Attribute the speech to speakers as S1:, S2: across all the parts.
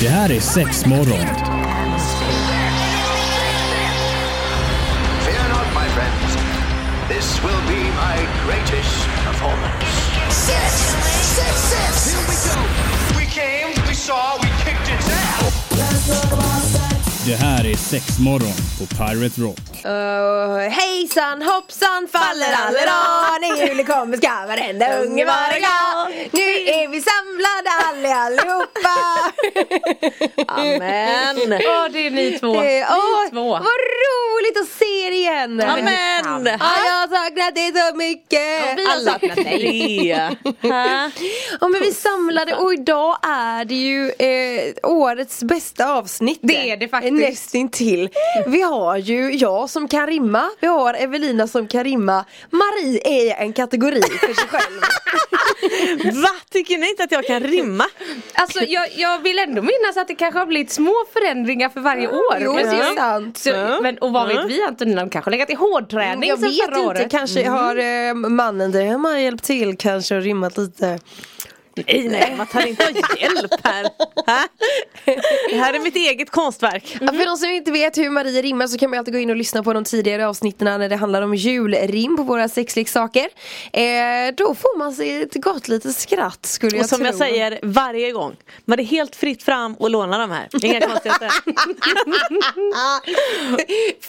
S1: Det här är sex morgon.
S2: Fear not, my friends. This will be my greatest performance.
S3: Six, six, six. Here we go.
S2: We came, we saw, we kicked its ass.
S1: Det här är sex morgon på Pirate Rock.
S4: Uh, hejsan hoppsan fallerallera När julen kommer ska varenda unge vara glad Nu är vi samlade alli allihopa Amen
S5: Ja, det är ni två.
S4: Eh, åh,
S5: ni två.
S4: Vad roligt att se er igen!
S5: Amen.
S4: Ja, jag har saknat dig så mycket!
S5: vi har
S4: Alla.
S5: saknat dig. Ha?
S4: Ja men vi samlade och idag är det ju eh, årets bästa avsnitt
S5: Det är det faktiskt.
S4: Nästintill Vi har ju jag som kan rimma Vi har Evelina som kan rimma Marie är en kategori för sig själv
S6: Va? Tycker ni inte att jag kan rimma?
S5: Alltså, jag, jag vill ändå minnas att det kanske har blivit små förändringar för varje år.
S4: Jo,
S5: Men
S4: det är
S5: så-
S4: sant. Mm,
S5: Så, men, och vad vet vi Antonina, de kanske har legat i hårdträning
S4: Jag
S5: sen
S4: vet
S5: förra
S4: inte,
S5: året. Mm.
S4: kanske har eh, mannen där hemma hjälpt till kanske och rimmat lite
S5: Mm.
S6: Nej, nej, man tar inte hjälp här. Ha? Det här är mitt eget konstverk.
S4: Ja, För de som inte vet hur Marie rimmar så kan man alltid gå in och lyssna på de tidigare avsnitten när det handlar om julrim på våra sexleksaker. Eh, då får man sig ett gott litet skratt skulle jag
S6: Och som
S4: tro.
S6: jag säger varje gång, man är helt fritt fram och låna de här. Inga konstigheter.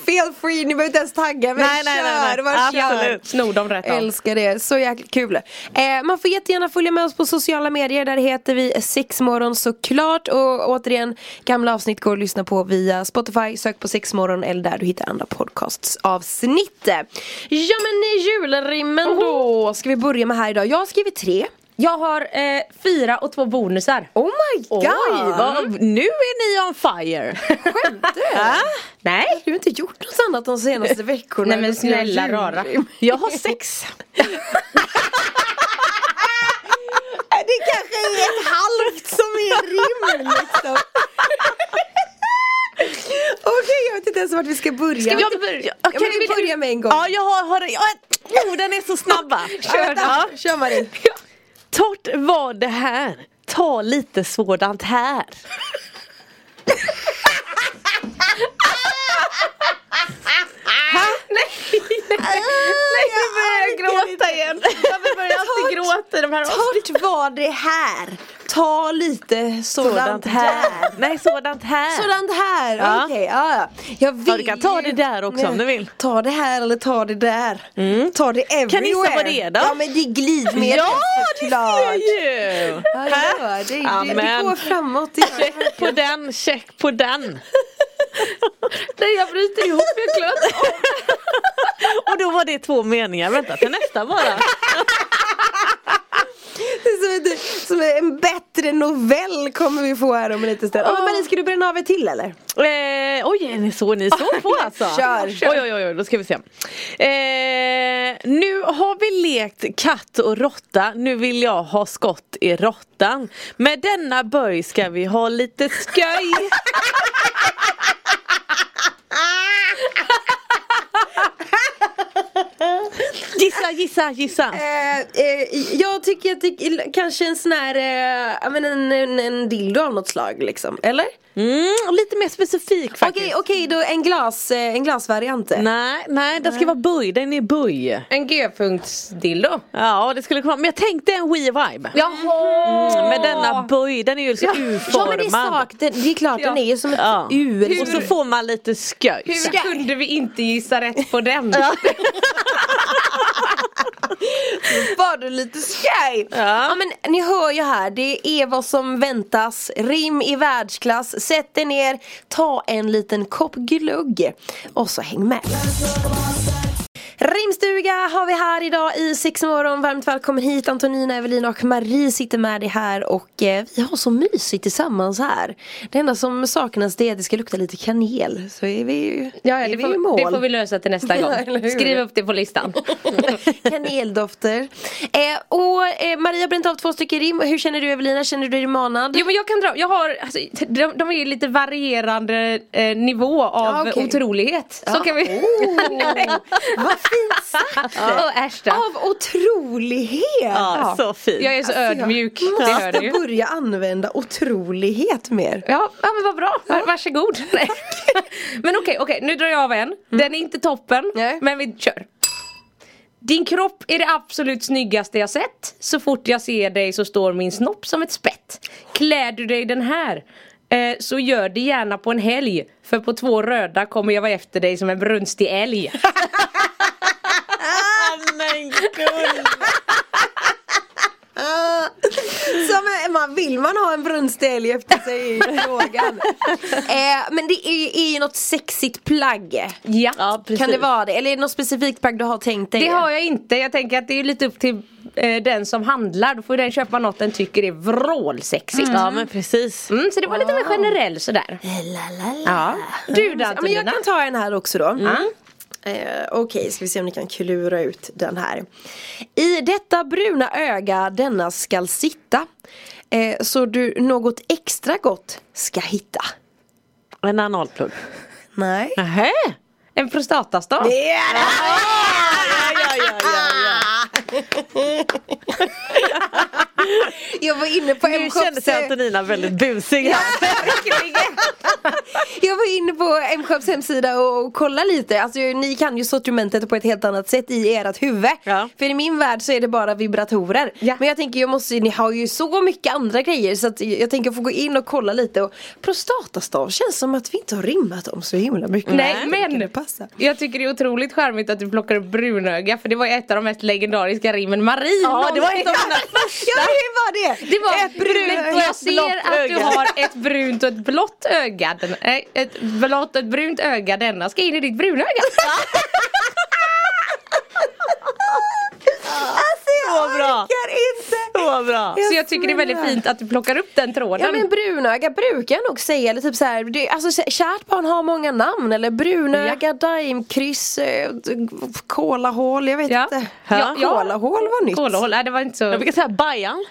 S4: Feel free, ni behöver inte ens tagga mig.
S6: Nej, nej, nej, nej.
S4: Kör, man kör.
S6: Absolut.
S5: Snor dem rätt av.
S4: Älskar det, så jäkla kul. Eh, man får jättegärna följa med oss på sociala medier, där heter vi sexmorgon såklart. Och återigen, gamla avsnitt går att lyssna på via Spotify, sök på sexmorgon eller där du hittar andra podcastsavsnitt. Ja men eh, julrimmen då, ska vi börja med här idag. Jag har skrivit tre.
S5: Jag har eh, fyra och två bonusar.
S4: Oh my god!
S6: Oj, vad, Äh? nu är ni on fire.
S4: Skämtar du?
S6: Ha?
S5: Nej.
S4: Du har inte gjort något annat de senaste veckorna.
S5: Nej men snälla rara.
S6: Jag har sex.
S4: Det kanske är ett halvt som är rim liksom. Okej, jag vet inte ens vart vi ska börja. Ska
S6: Jag- jag-
S4: Kan vi börja med en gång?
S6: Ja, jag har, har jag, oh, den är så snabb va?
S4: Kör,
S6: Ja.
S4: då. Kör Marie.
S6: Torrt var det här, ta lite sådant här.
S5: Nej nu börjar jag gråta igen. Varför börjar jag alltid gråta i de här avsnitten?
S4: Torrt var det här. Ta lite sådant här.
S6: Nej, sådant här.
S4: Sådant här,
S6: Äh. Ja.
S4: okej. ja, ja. Jag vill
S6: Ja, du kan ta det där också
S4: ju-
S6: om du vill.
S4: Ta det här eller ta det där. Ta det everywhere.
S6: Kan ni gissa vad det är då?
S4: Ja men det är glidmedel
S6: Ja, det
S4: såklart.
S6: ser ju!
S4: Ja, det gör det. Det, det
S6: Amen.
S4: går framåt. Det gör det.
S6: Check på den, check på den.
S5: Nej jag bryter ihop, jag klarar inte av det.
S6: Och då var det två meningar, vänta till nästa bara.
S4: Det är Som, ett, som en bättre novell kommer vi få här om en liten stund. Oh. Marie, ska du bränna av er till eller?
S6: Eh, oj, är ni så ni så på alltså?
S4: Kör, kör.
S6: Oj, oj, oj, oj, då ska vi se. Eh, nu har vi lekt katt och råtta, nu vill jag ha skott i råttan. Med denna böj ska vi ha lite sköj. gissa, gissa, gissa.
S4: Eh, eh, jag tycker att det är kanske en sån här, eh, ja, men en, en, en dildo av något slag liksom, eller?
S6: Mm, lite mer specifik faktiskt.
S4: Okej, okej då en, glas, eh, en glasvariant.
S6: Nej, nej, den ska vara böj, den är böj.
S5: En G-punktsdildo.
S6: Ja, det skulle kunna, men jag tänkte en Wii-vibe.
S5: Jaha!
S6: Mm, men denna böj, den är ju liksom
S4: Ja men
S6: U-formad.
S4: det är sak, det, det är klart den
S5: Ja.
S4: är ju som ett
S6: Ja.
S4: U eller
S6: Och så får man lite sköjs.
S5: Hur kunde vi inte gissa rätt på den?
S4: Var du lite skoj? Ja.
S6: Ja.
S4: men ni hör ju här, det är vad som väntas Rim i världsklass, sätt er ner, ta en liten kopp glögg och så häng med Rimstuga har vi här idag i sex morgon. Varmt välkommen hit Antonina, Evelina och Marie sitter med dig här och eh, vi har så mysigt tillsammans här. Det enda som saknas det är att det ska lukta lite kanel så är vi ju,
S5: Ja, ja
S4: är
S5: det,
S4: vi i
S5: får,
S4: mål.
S5: det får vi lösa till nästa
S4: Ja,
S5: gång.
S4: eller hur?
S5: Skriv upp det på listan.
S4: Kaneldofter. Eh, och eh, Maria har bränt av två stycken rim. Hur känner du Evelina? Känner du dig manad?
S5: Jo men jag kan dra, jag har, alltså, de, de är ju lite varierande eh, nivå av
S4: Ja, okej.
S5: otrolighet. Så
S4: Ja.
S5: kan vi...
S4: Oh, vad
S5: fint sagt!
S4: Och äsch då.
S5: Av otrolighet!
S6: Ja, så fint.
S5: Jag är så ödmjuk, det hör
S4: Alltså, måste
S5: du ju.
S4: börja använda otrolighet mer.
S5: Ja, ja men vad bra, Var, varsågod. Nej. men okej, okej, nu drar jag av en. Den är inte toppen,
S4: Nej.
S5: men vi kör. Din kropp är det absolut snyggaste jag sett. Så fort jag ser dig så står min snopp som ett spett. Klär du dig den här eh, så gör det gärna på en helg. För på två röda kommer jag vara efter dig som en brunstig älg.
S6: men gud.
S4: Som eh, man, vill man ha en brunstig älg efter sig i frågan? eh, men det är ju, är ju något sexigt plagg.
S5: ja.
S6: Ja, precis.
S4: Kan det vara det? Eller är det något specifikt plagg du har tänkt dig?
S5: Det har jag inte. Jag tänker att det är lite upp till eh, den som handlar. Då får ju den köpa något den tycker är vrålsexigt.
S6: Ja men precis.
S5: Mm, så det var lite mer generell sådär. Ja. Du då
S4: Mm. Ja, men jag
S5: Antonina?
S4: kan ta en här också då. Eh, Okej, ska vi se om ni kan klura ut den här. I detta bruna öga denna skall sitta. Eh, så du något extra gott ska hitta.
S6: En analplugg.
S4: Nej.
S6: Nähä?
S4: Ah,
S5: En prostatastav?
S4: Det är det!
S6: Ja, ja,
S4: ah,
S6: ja, ja, ja.
S4: Jag var inne på
S6: Nu kände sig
S4: M-shops
S6: Antonina väldigt busig här.
S4: Jag var inne på M-shops hemsida och, och kollade lite. Alltså ni kan ju sortimentet på ett helt annat sätt i ert huvud.
S6: Ja.
S4: För i min värld så är det bara vibratorer.
S5: Ja.
S4: Men jag tänker jag måste, ni har ju så mycket andra grejer så att jag tänker få gå in och kolla lite. Och prostatastav känns som att vi inte har rimmat om så himla mycket.
S5: Nej
S4: Kan det
S5: men
S4: passa?
S5: jag tycker det är otroligt charmigt att du plockar upp brunöga för det var ju ett av de mest legendariska rimmen Marie
S6: Ja, det var ett av mina
S4: Ja det var det!
S5: Det var
S4: Ett Alltså, brunt
S5: brunt
S4: och
S5: och
S4: ett
S5: jag ser att
S6: blått
S5: du
S6: öga.
S5: har ett brunt och ett blått öga. Den, äh, ett blått och ett brunt öga denna ska in i ditt brunöga.
S4: Alltså jag
S6: Så bra.
S4: orkar inte!
S6: Så bra.
S5: Så jag tycker det är väldigt
S4: snälla.
S5: fint att du plockar upp den
S4: Ja
S5: tråden.
S4: men brunöga brukar jag nog säga, eller typ så här, det, alltså så- kärt barn har många namn eller brunöga, daimkryss, eh, d- kolahål, jag vet
S5: Ja.
S4: inte
S5: Ja,
S4: ja,
S5: ja.
S4: Kolahål var nytt
S5: Kolhål, nej det var inte så.
S6: Jag brukar säga
S4: Mm.
S6: Bajan.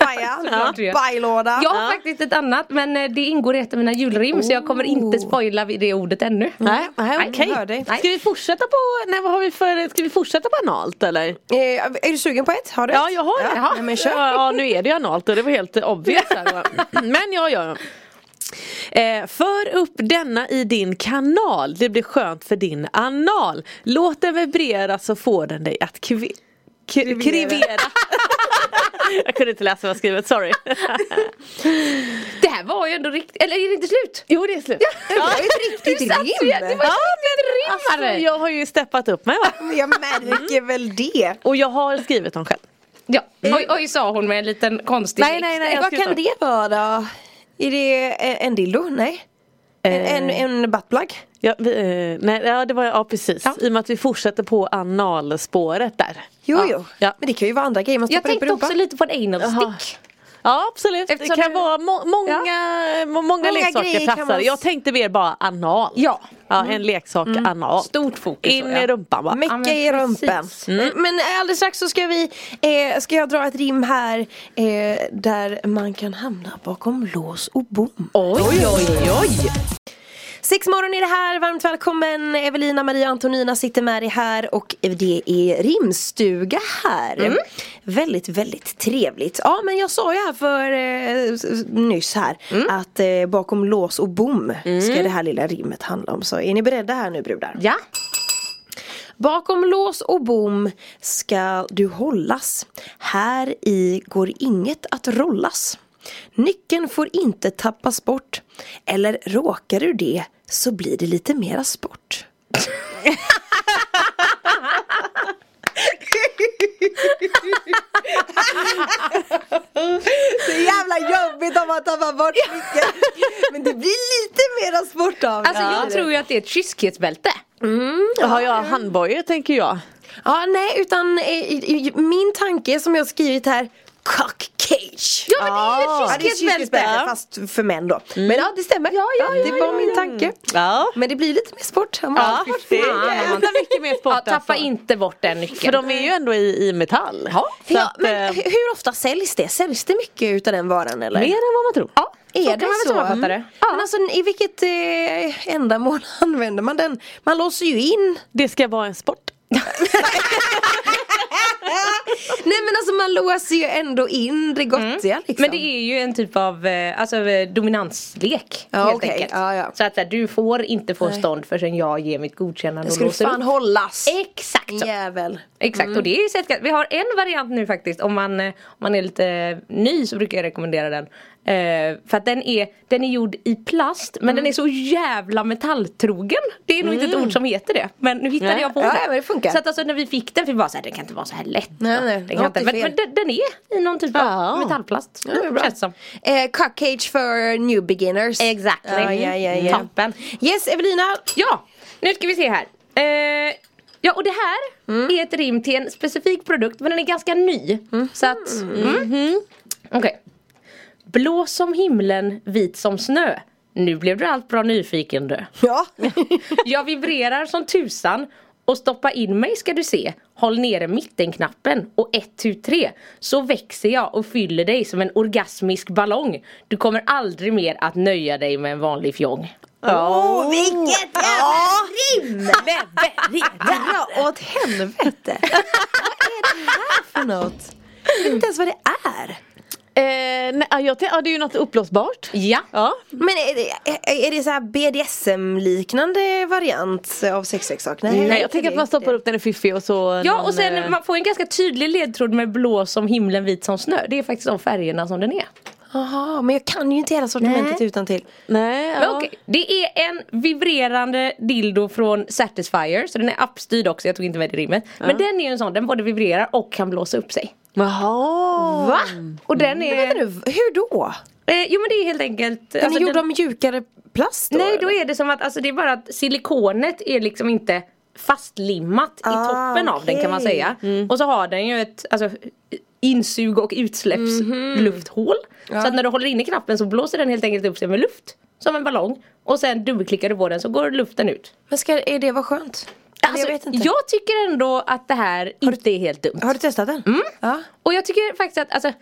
S4: Bajan,
S5: Såklart du gör.
S4: bajlåda
S5: Jag har faktiskt ett annat men eh, det ingår i ett av mina julrim så jag kommer inte spoila vid det ordet ännu.
S6: Nej, nej
S5: Nej,
S6: okej.
S5: hör dig.
S6: Ska vi fortsätta på, nej vad har vi för, ska vi fortsätta på analt eller?
S4: eh, Är du sugen på ett? Har du
S6: Ja
S4: ett?
S6: jag har det.
S4: ja. Nej, men kör.
S6: Ja, ja nu är det ju analt och det var helt eh, obvious här då. Men jag gör Eh, för upp denna i din kanal, det blir skönt för din anal. Låt den vibrera så får den dig att kvi- k- krivera. jag kunde inte läsa vad jag skrivit, sorry.
S5: Det här var ju ändå riktigt, eller är det inte slut?
S6: jo det är slut.
S4: Det var ju ett
S5: Du
S4: riktigt
S5: satt ju- det
S4: rim!
S5: var-
S6: Ja, men,
S5: rimmar det.
S6: alltså, jag har ju steppat upp mig va?
S4: Jag märker väl det
S6: Och jag har skrivit dem själv.
S5: Ja. Oj, oj sa hon med en liten konstig
S6: Nej,
S5: blick.
S6: nej, nej. jag
S4: Vad
S6: ska
S4: kan
S6: ta-
S4: det vara då? Är det eh, en dildo? Nej? En, en, en buttplug?
S6: Eh, Ja, vi, eh, nej, ja, det var ja, precis. I och med att vi fortsätter på analspåret där.
S4: Jo,
S6: ja.
S4: jo.
S6: Eh, Ja,
S4: Men det kan ju vara andra grejer man
S5: Jag
S4: stoppar upp i
S5: tänkte också
S4: rumpan.
S5: lite på en anal
S6: Jaha.
S5: stick.
S6: ja absolut.
S5: Eftersom
S6: det kan
S5: du-
S6: vara må- många, må- många
S4: Många grejer
S6: leksaker
S4: kan
S6: platsar.
S4: man-
S6: Jag tänkte mer bara anal.
S5: Ja.
S6: ja Mm. en leksak anal.
S5: Stort fokus.
S6: In
S5: så,
S6: i rumpan bara.
S4: Mecka
S5: Ja, men
S4: i rumpan.
S5: precis.
S4: Mm. Men alldeles strax så ska vi eh, Ska jag dra ett rim här eh, Där man kan hamna bakom lås och bom
S6: Oj, oj, oj.
S4: Sex morgon är det här, varmt välkommen Evelina, Maria och Antonina sitter med dig här och det är rimstuga här Väldigt, väldigt trevligt Ja men jag sa ju här för eh, s- s- nyss här Att eh, bakom lås och bom ska det här lilla rimmet handla om Så är ni beredda här nu brudar?
S5: Ja.
S4: Bakom lås och bom ska du hållas. Här i går inget att rollas. Nyckeln får inte tappas bort. Eller råkar du det så blir det lite mera sport. Så jävla jobbigt om man tappar bort nyckeln. Men det blir lite mera sport av det.
S5: Alltså jag tror ju att det är ett kyskhetsbälte.
S6: Har jag handbojor tänker jag.
S4: Ja, nej, utan eh, i- i- min tanke som jag har skrivit här Cock cage
S5: Ja men det är ju
S4: Ah. Ja,
S5: ett Mm.
S4: det är
S5: kyskhetsbälte.
S4: kyrkbälte fast för män då Men ja, det stämmer ja, ja, Det var min tanke
S6: Ja.
S4: Men det blir lite mer sport än vad
S6: Ja,
S4: sport
S6: det
S4: får.
S6: är jävla mycket mer sport
S5: Ja, tappa
S6: alltså.
S5: inte bort den
S6: För
S5: nyckeln.
S6: de är ju ändå i, i metall.
S4: Ja,
S6: Så
S4: ja,
S6: att,
S4: men
S6: eh,
S4: hu- hur ofta säljs det? Säljs det mycket utav den varan eller?
S6: Mer än vad man tror.
S4: Ja, är
S5: så
S4: det
S5: kan man väl
S4: så?
S5: sammanfatta det.
S4: Mm. Men alltså i vilket eh, ändamål använder man den? Man låser ju in
S6: Det ska vara en sport.
S4: Nej men alltså man låser ju ändå in det gottiga liksom.
S5: Mm. Men det är ju en typ av eh, alltså, eh, dominanslek
S4: Ja,
S5: helt
S4: okej.
S5: enkelt.
S4: Ja, ja.
S5: Så att så här, du får inte få stånd förrän jag ger mitt godkännande
S4: det skulle fan
S5: upp.
S4: hållas.
S5: Exakt så.
S4: Jävel.
S5: Exakt,
S4: Mm.
S5: och det är ju så att vi har en variant nu faktiskt om man, eh, om man är lite eh, ny så brukar jag rekommendera den. Eh, för att den är, den är gjord i plast men
S4: Mm.
S5: den är så jävla metalltrogen. Det är nog inte ett ord som heter det men nu hittade
S6: Nej.
S5: jag på
S4: Ja,
S5: det.
S4: ja, men det funkar.
S5: Så att alltså när vi fick den fick vi bara såhär, den kan inte vara så här lätt.
S4: Nej, nej,
S5: den kan
S4: något
S5: inte.
S4: är
S5: Men,
S4: fel.
S5: men den, den är i någon typ
S6: Ja.
S5: av metallplast.
S4: Ja, det är bra.
S5: Känns som.
S4: Eh, Cuckage för new beginners.
S5: Exactly.
S4: Ja, ja, ja, ja.
S5: Toppen.
S4: Yes Evelina.
S5: Ja, nu ska vi se här. Eh, ja, och det här är ett rim till en specifik produkt men den är ganska ny. Så att, mm. Okej. Blå som himlen, vit som snö. Nu blev du allt bra nyfiken du.
S4: Ja.
S5: Jag vibrerar som tusan och stoppa in mig ska du se. Håll nere mittenknappen och 1, 2, 3 så växer jag och fyller dig som en orgasmisk ballong. Du kommer aldrig mer att nöja dig med en vanlig fjong.
S4: Oh, vilket jävla rim! Dra åt helvete. vad är det här för något? Jag vet inte ens vad det är.
S6: Eh, nej, ja, jag, tän- ja, det är ju något uppblåsbart.
S5: Ja.
S6: Ja.
S4: Men är det, är är det så här BDSM-liknande variant av sexleksak?
S6: Nej,
S4: det är
S6: jag tänker
S4: det
S6: att man
S4: inte.
S6: stoppar upp den i fiffi och så
S5: Ja
S6: någon,
S5: och
S6: eh,
S5: sen man får en ganska tydlig ledtråd med blå som himlen, vit som snö. Det är faktiskt de färgerna som den är.
S4: Jaha, men jag kan ju inte hela sortimentet
S5: Nej.
S4: utan till.
S6: Nej,
S5: Men
S6: ja.
S5: okej, det är en vibrerande dildo från Satisfyer. Så den är appstyrd också, jag tog inte med det i rimmet. Men den är ju en sån, den både vibrerar och kan blåsa upp sig.
S6: Jaha.
S5: Va? Och den är...
S4: Men vänta nu, hur då?
S5: Eh, jo men det är helt enkelt...
S4: Den
S5: alltså,
S4: är gjord av mjukare plast då?
S5: Nej
S4: eller?
S5: då är det som att, alltså det är bara att silikonet är liksom inte fastlimmat i
S4: Ah,
S5: toppen av den kan man
S4: okej. Mm.
S5: säga. Och så har den ju ett alltså, insug och
S4: Mhm.
S5: utsläppslufthål. Så att när du håller inne knappen så blåser den helt enkelt upp sig med luft. Som en ballong. Och sen dubbelklickar du på den så går luften ut.
S4: Men ska, är det vad skönt? Eller
S5: Alltså,
S4: jag vet inte.
S5: jag tycker ändå att det här inte är helt dumt.
S4: Har du testat den?
S5: Mm.
S4: Ja.
S5: Och jag tycker faktiskt att, alltså,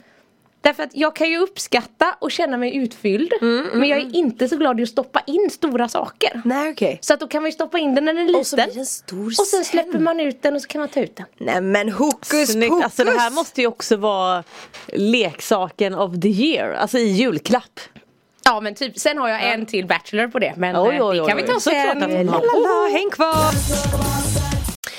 S5: därför att jag kan ju uppskatta och känna mig utfylld.
S4: Mm,
S5: men jag är inte så glad i att stoppa in stora saker.
S4: Nej okej.
S5: Så att då kan man ju stoppa in den när den är
S4: Och så
S5: liten.
S4: blir det en stor
S5: Och
S4: säng.
S5: sen släpper man ut den och så kan man ta ut den.
S4: Nej men hokus
S6: Snyggt.
S4: pokus!
S6: Alltså det här måste ju också vara leksaken of the year, alltså i julklapp.
S5: Ja men typ, sen har jag en till Bachelor på det. Men
S6: Oj,
S5: eh,
S6: oj,
S5: det
S6: oj,
S5: kan vi
S6: oj.
S5: ta
S6: Såklart
S5: sen.
S6: att man har.
S4: Lala, häng kvar!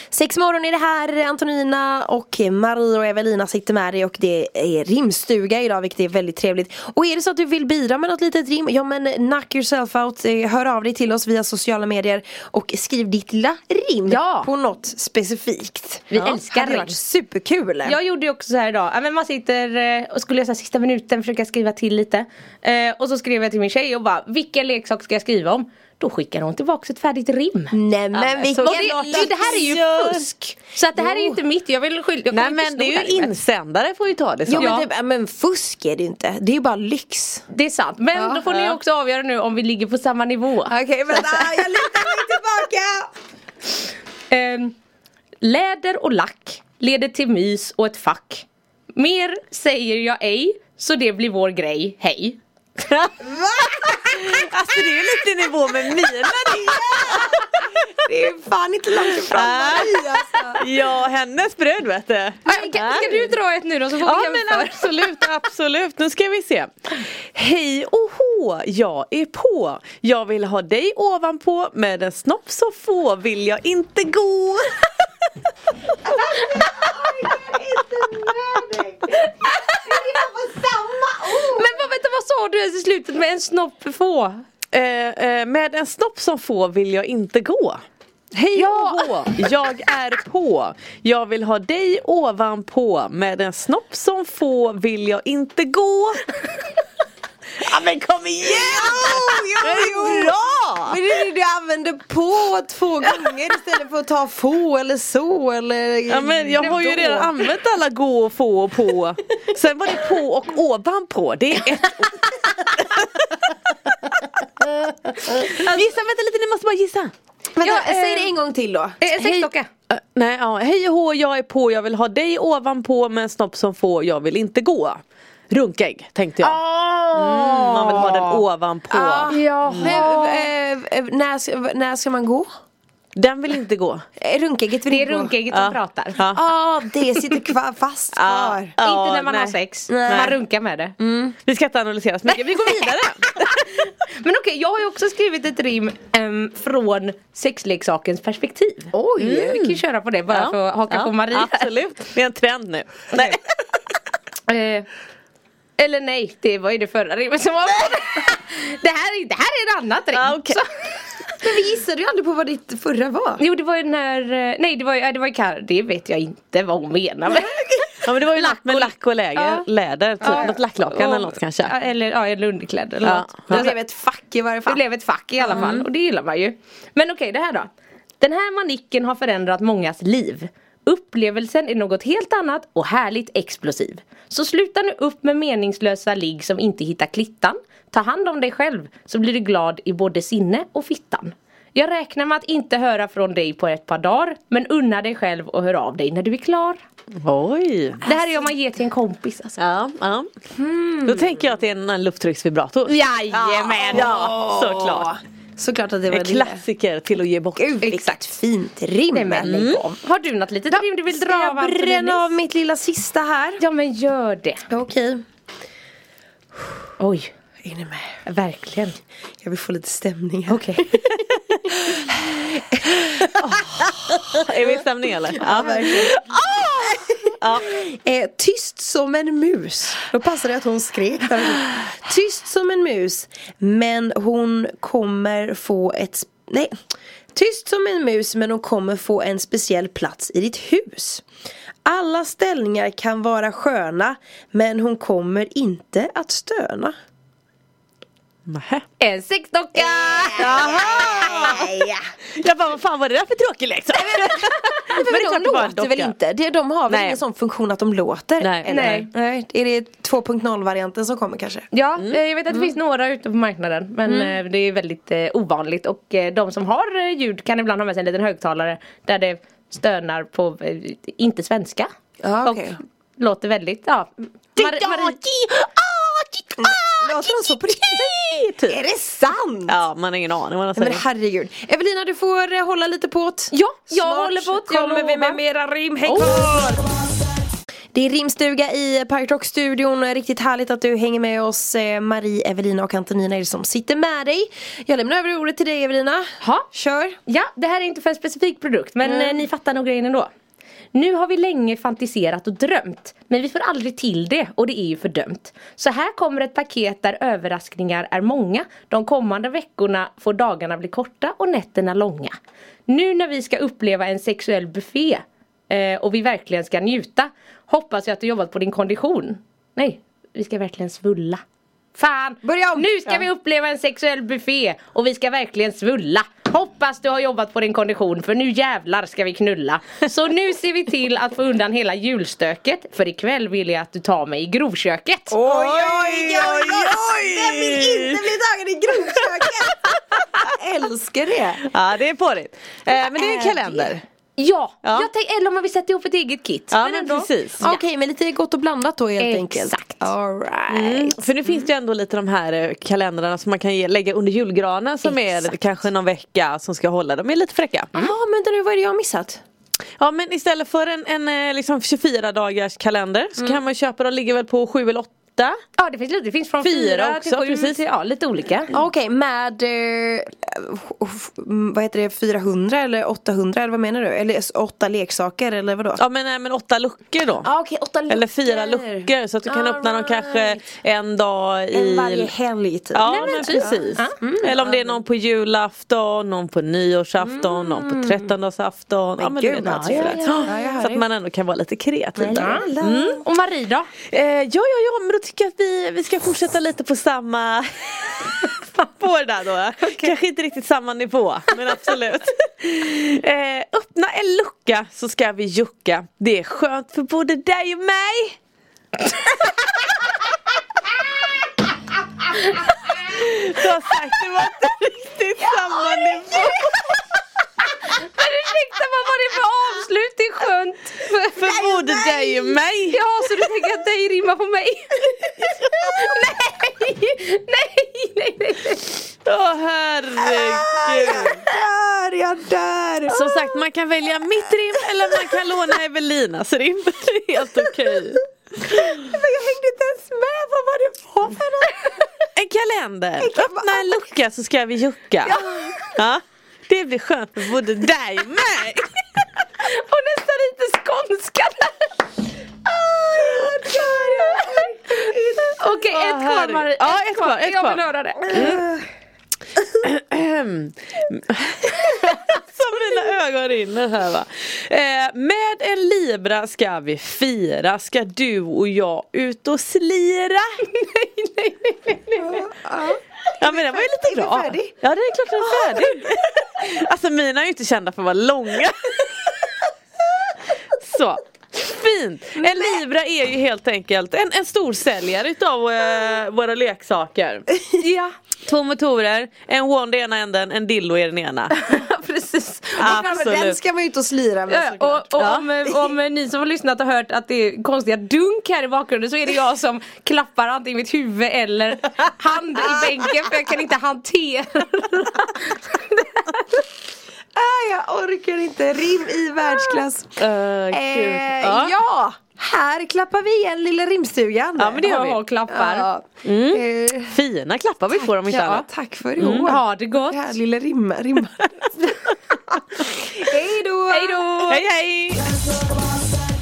S4: Sex morgon är det här, Antonina och Marie och Evelina sitter med dig och det är rimstuga idag vilket är väldigt trevligt. Och är det så att du vill bidra med något litet rim, ja men knock yourself out, Eh, hör av dig till oss via sociala medier och skriv ditt lilla rim
S5: Ja.
S4: på något specifikt.
S5: Vi älskar
S4: hade
S5: rim.
S4: varit superkul!
S5: Jag gjorde ju också så här idag, ja, men man sitter eh, och skulle jag så här, sista minuten försöka skriva till lite. Eh, och så skrev jag till min tjej och bara, vilken leksak ska jag skriva om? Då skickar hon tillbaka ett färdigt rim.
S4: Nej men
S6: men
S4: vilken
S5: Och det, det, det här är ju fusk! Så att det här är ju inte mitt, jag vill skylla, jag
S6: Nej
S5: kommer inte
S6: men det
S5: sno
S6: är ju
S5: här rimmet.
S6: insändare får ju ta det som.
S4: Jo
S5: Ja.
S4: men, det, men fusk är det ju inte, det är ju bara lyx.
S5: Det är sant, men
S4: Ja,
S5: då får ni
S4: ja.
S5: också avgöra nu om vi ligger på samma nivå.
S4: Okej vänta, jag lutar mig tillbaka!
S5: Ehm, läder och lack leder till mys och ett fack. Mer säger jag ej, så det blir vår grej. Hej!
S6: Alltså det är ju lite i nivå med mina.
S4: Det är fan inte långt ifrån Marie alltså.
S6: Ja hennes bröd vet du.
S5: Äh, Kan, ska du dra ett nu då så får
S6: Ja
S5: vi
S6: men alltså-
S5: jämföra?
S6: absolut, absolut. Nu ska vi se. Hej och hå, jag är på. Jag vill ha dig ovanpå. Med en snopp så få vill jag inte gå.
S5: Men vad, vänta, vad sa du ens i slutet med en snopp få?
S6: Eh, eh, med en snopp som få vill jag inte gå. Hej ja. och hå, jag är på. Jag vill ha dig ovanpå. Med en snopp som få vill jag inte gå. ja men kom igen!
S4: Jo, jo, jo.
S6: Bra!
S4: Men det är det du använder på två gånger istället för att ta få eller så eller
S6: Ja men jag har ju
S4: då.
S6: redan använt alla gå och få och på. Sen var det på och ovanpå. Det är ett ord. Gissa, vänta lite ni måste bara gissa.
S4: Vänta,
S5: Ja, eh,
S4: säg det en gång till då
S5: Eh, sexdocka.
S6: Ö, nej, ja. hej och hå, jag är på, jag vill ha dig ovanpå med en snopp som får, jag vill inte gå. Runkägg tänkte jag.
S5: Ah!
S6: Mm, man vill ha den ovanpå.
S4: Men, eh, eh, när, ska- när ska man gå?
S6: Den vill inte gå.
S4: Eh, Runkägget vill
S5: Det är
S4: inte gå.
S5: runkägget som
S6: Ja.
S5: pratar.
S6: Ja.
S4: Ja, det sitter kvar, fast
S6: Ja.
S4: kvar.
S6: Ja,
S5: inte när man har
S6: nej. Mm.
S5: sex.
S4: Nej.
S5: Man runkar med det.
S6: Vi ska inte analysera så mycket, vi går vidare.
S5: Men okej, jag har ju också skrivit ett rim ehm, från sexleksakens perspektiv. Mm.
S4: Oj.
S5: Vi kan ju köra på det bara
S6: Ja.
S5: för att haka
S6: Ja,
S5: på Marie. här.
S6: Absolut, det är en trend nu.
S5: Nej. Eh, eller nej, det var ju det förra rimmet som var det, här, är- det här är ett annat rim.
S6: Ja, okej.
S5: Så-
S4: Ah, Men vi gissade ju aldrig på vad ditt förra var.
S5: Jo det var ju när, eh, nej det var ju, ja, det var ju Kar- det vet jag inte vad hon menar med.
S6: Ja men det var ju lack
S5: Lack
S6: med
S5: och-
S6: lack och läger,
S5: Ja.
S6: läder, typ
S5: Ja. Oh.
S6: något lacklakan
S5: Och-
S6: eller något
S5: Ja,
S6: kanske.
S5: eller, ja, eller underkläder eller
S6: Ja.
S5: något.
S6: Ja.
S4: Det blev ett fack i varje
S5: Det
S4: fall.
S5: blev ett fack i alla fall
S4: Mm.
S5: och det gillar man ju. Men okej, det här då. Den här manicken har förändrat mångas liv. Upplevelsen är något helt annat och härligt explosiv. Så sluta nu upp med meningslösa ligg som inte hittar klittan. Ta hand om dig själv så blir du glad i både sinne och fittan. Jag räknar med att inte höra från dig på ett par dagar men unna dig själv och hör av dig när du är klar.
S6: Oj!
S5: Det här är om man ger till en kompis alltså.
S6: Ja, ja.
S5: Hmm.
S6: Då tänker jag att det är en annan lufttrycksvibrator.
S5: Jajamän!
S6: Ja, såklart.
S4: Såklart att det var
S6: En
S4: det.
S6: klassiker till att ge bort.
S4: Gud vilket
S5: Exakt.
S4: fint rim.
S5: Nej, men lägg av. Har du något litet rim du vill
S4: Mm. Ska
S5: dra av
S4: jag
S5: Antoninis?
S4: bränna av mitt lilla sista här?
S5: Ja men gör det.
S4: Okej.
S5: Oj,
S4: Är ni med?
S5: verkligen.
S4: Jag vill få lite stämning här.
S5: Okej.
S6: Är vi i stämning eller? Ja,
S4: Ah! Eh, tyst som en mus. Då passade det att hon skrek. där. tyst som en mus. Men hon kommer få ett... sp- Nej. Tyst som en mus men hon kommer få en speciell plats i ditt hus. Alla ställningar kan vara sköna men hon kommer inte att stöna.
S6: Nähä.
S5: En sexdocka!
S6: Eh,
S4: Ja.
S6: Jag bara, vad fan var det där för tråkig leksak?
S4: Men,
S6: det är klart
S4: de
S6: det var en
S4: låter
S6: docka.
S4: väl inte? Det- De har väl
S6: Nej.
S4: ingen sån funktion att de låter?
S6: Nej.
S4: eller?
S5: Nej.
S4: Nej. Är det 2.0-varianten som kommer kanske?
S5: Ja,
S6: Mm.
S5: eh, jag vet att det finns några ute på marknaden men eh, det är väldigt eh, ovanligt och eh, de som har eh, ljud kan ibland ha med sig en liten högtalare där det stönar på, eh, inte svenska.
S4: Ja,
S5: och
S4: okej.
S5: låter väldigt, ja. Mar- Marie,
S4: Ah, Låter de Mm. så på riktigt? Är det sant?
S6: Ja, man har ingen aning vad man
S4: Men
S6: säger.
S4: herregud. Evelina du får eh, hålla lite på åt.
S5: ja, jag
S4: Snart
S5: håller på att
S4: kommer vi med mera rim. Häng kvar! Det är rimstuga i Pirate Rock-studion. Riktigt härligt att du hänger med oss. Eh, Marie, Evelina och Antonina är det som sitter med dig. Jag lämnar över ordet till dig Evelina.
S5: Ha.
S4: Kör.
S5: Ja, det här är inte för en specifik produkt men eh, ni fattar nog grejen ändå. Nu har vi länge fantiserat och drömt men vi får aldrig till det och det är ju fördömt. Så här kommer ett paket där överraskningar är många. De kommande veckorna får dagarna bli korta och nätterna långa. Nu när vi ska uppleva en sexuell buffé eh, och vi verkligen ska njuta hoppas jag att du jobbat på din kondition. Nej, vi ska verkligen svulla. Fan!
S4: Börja om!
S5: Nu ska
S4: Ja.
S5: vi uppleva en sexuell buffé och vi ska verkligen svulla. Hoppas du har jobbat på din kondition för nu jävlar ska vi knulla. Så nu ser vi till att få undan hela julstöket för ikväll vill jag att du tar mig i grovköket.
S4: Oj, oj, oj, oj! Vem vill inte bli tagen i grovköket? Jag älskar Äh, det!
S6: Ja, det är porrigt. Eh, men det är en
S4: är
S6: kalender.
S5: Ja,
S6: Ja.
S5: Jag tänk, eller om man vill sätta ihop ett eget kit.
S6: Ja, men precis.
S4: Okej, men lite gott och blandat då helt enkelt.
S5: Exakt.
S4: All right.
S6: Mm, För nu finns det ju ändå lite de här eh, kalendrarna som man kan ge, lägga under julgranen som är
S5: Exakt.
S6: kanske någon vecka som ska hålla. De är lite fräcka.
S4: Ja, vänta nu, vad är det jag har missat?
S6: Ja men istället för en, en eh, liksom 24 dagars kalender
S4: Mm.
S6: så kan man ju köpa, de ligger väl på 7 eller 8?
S5: Ja det finns lite, det finns från
S6: Fyra
S5: fyra, till
S6: också,
S5: sju
S6: precis.
S5: till ja, lite olika.
S4: Ja, Okej, med eh, f- mm, vad heter det, 400 eller 800 eller vad menar du? Eller s- åtta leksaker eller vadå?
S6: Ja men, nej, men 8 luckor då.
S4: Ja, okej, åtta
S6: Eller fyra luckor så att du kan
S4: All
S6: öppna dem
S4: right.
S6: kanske en dag i...
S4: En varje helg typ.
S6: Ja
S4: Nej, men
S6: men
S4: typ.
S6: precis. Eller om det är någon på julafton, någon på nyårsafton, någon på trettondagsafton. Ja men du
S4: Mm. gud,
S6: vet
S4: ja,
S6: allt
S4: ja,
S6: sådär.
S4: ja, ja, jag hör
S6: Så att
S4: dig.
S6: man ändå kan vara lite kreativ. där.
S5: Mm. Och Marie då?
S6: Eh, ja, ja, ja, men då tycker jag att vi, vi ska fortsätta lite på samma spår där då. Kanske inte riktigt samma nivå, men absolut. eh, öppna en lucka så ska vi jucka. Det är skönt för både dig och mig. Du har sagt det var inte riktigt samma nivå.
S5: Men ursäkta vad var det för avslut? Det är skönt. För,
S6: För både dig och mig.
S5: Ja, så du tänker att dig rimmar på mig? nej! Nej, nej, nej!
S6: Åh herregud.
S4: Där, jag där!
S6: Som sagt, man kan välja mitt rim eller man kan låna Evelinas rim. Det är helt okej.
S4: Jag hängde inte ens med på vad det var för något!
S6: En
S4: En
S6: kalender.
S4: kal-
S6: Öppna en lucka så ska vi jucka. Ja. Det blir skönt för både dig och mig.
S5: Och nästan lite skånska där. Ah, Okej,
S6: Åh,
S5: ett kvar
S6: herregud.
S5: Marie.
S6: Ja, ett kvar, ett
S5: Jag
S6: kvar. Mm.
S5: vill höra det.
S6: Som mina ögon rinner här va. Eh, med en libra ska vi fira. Ska du och jag ut och slira. nej, nej, nej, nej, nej. Ja men den var ju lite
S4: Är vi
S6: bra.
S4: färdig?
S6: Ja det är klart den är färdig. alltså mina är ju inte kända för att vara långa. Så. Fint! En libra är ju helt enkelt en, en storsäljare utav eh, våra leksaker.
S5: Ja,
S6: Två motorer, en wand i ena änden, en dildo i den ena.
S5: precis.
S6: Absolut.
S4: Den ska man ju inte och slira med
S5: Ja, och och om, eh, om eh, ni som har lyssnat har hört att det är konstiga dunk här i bakgrunden så är det jag som klappar antingen mitt huvud eller hand i bänken för jag kan inte hantera
S4: Ah, jag orkar inte, rim i världsklass.
S6: Eh, gud.
S4: Eh,
S6: Ja.
S4: ja, här klappar vi igen lilla rimstugan.
S6: Ja, men det gör vi.
S4: Ja, klappar.
S5: Ja.
S4: Eh,
S6: Fina klappar vi får om inte
S4: ja,
S6: annat.
S4: tack för i
S6: Mm.
S4: år.
S5: Ha det gott!
S4: Det här lilla rim, rimmar. Hej då!
S5: Hej då!
S6: Hej hej!
S3: Dance floor,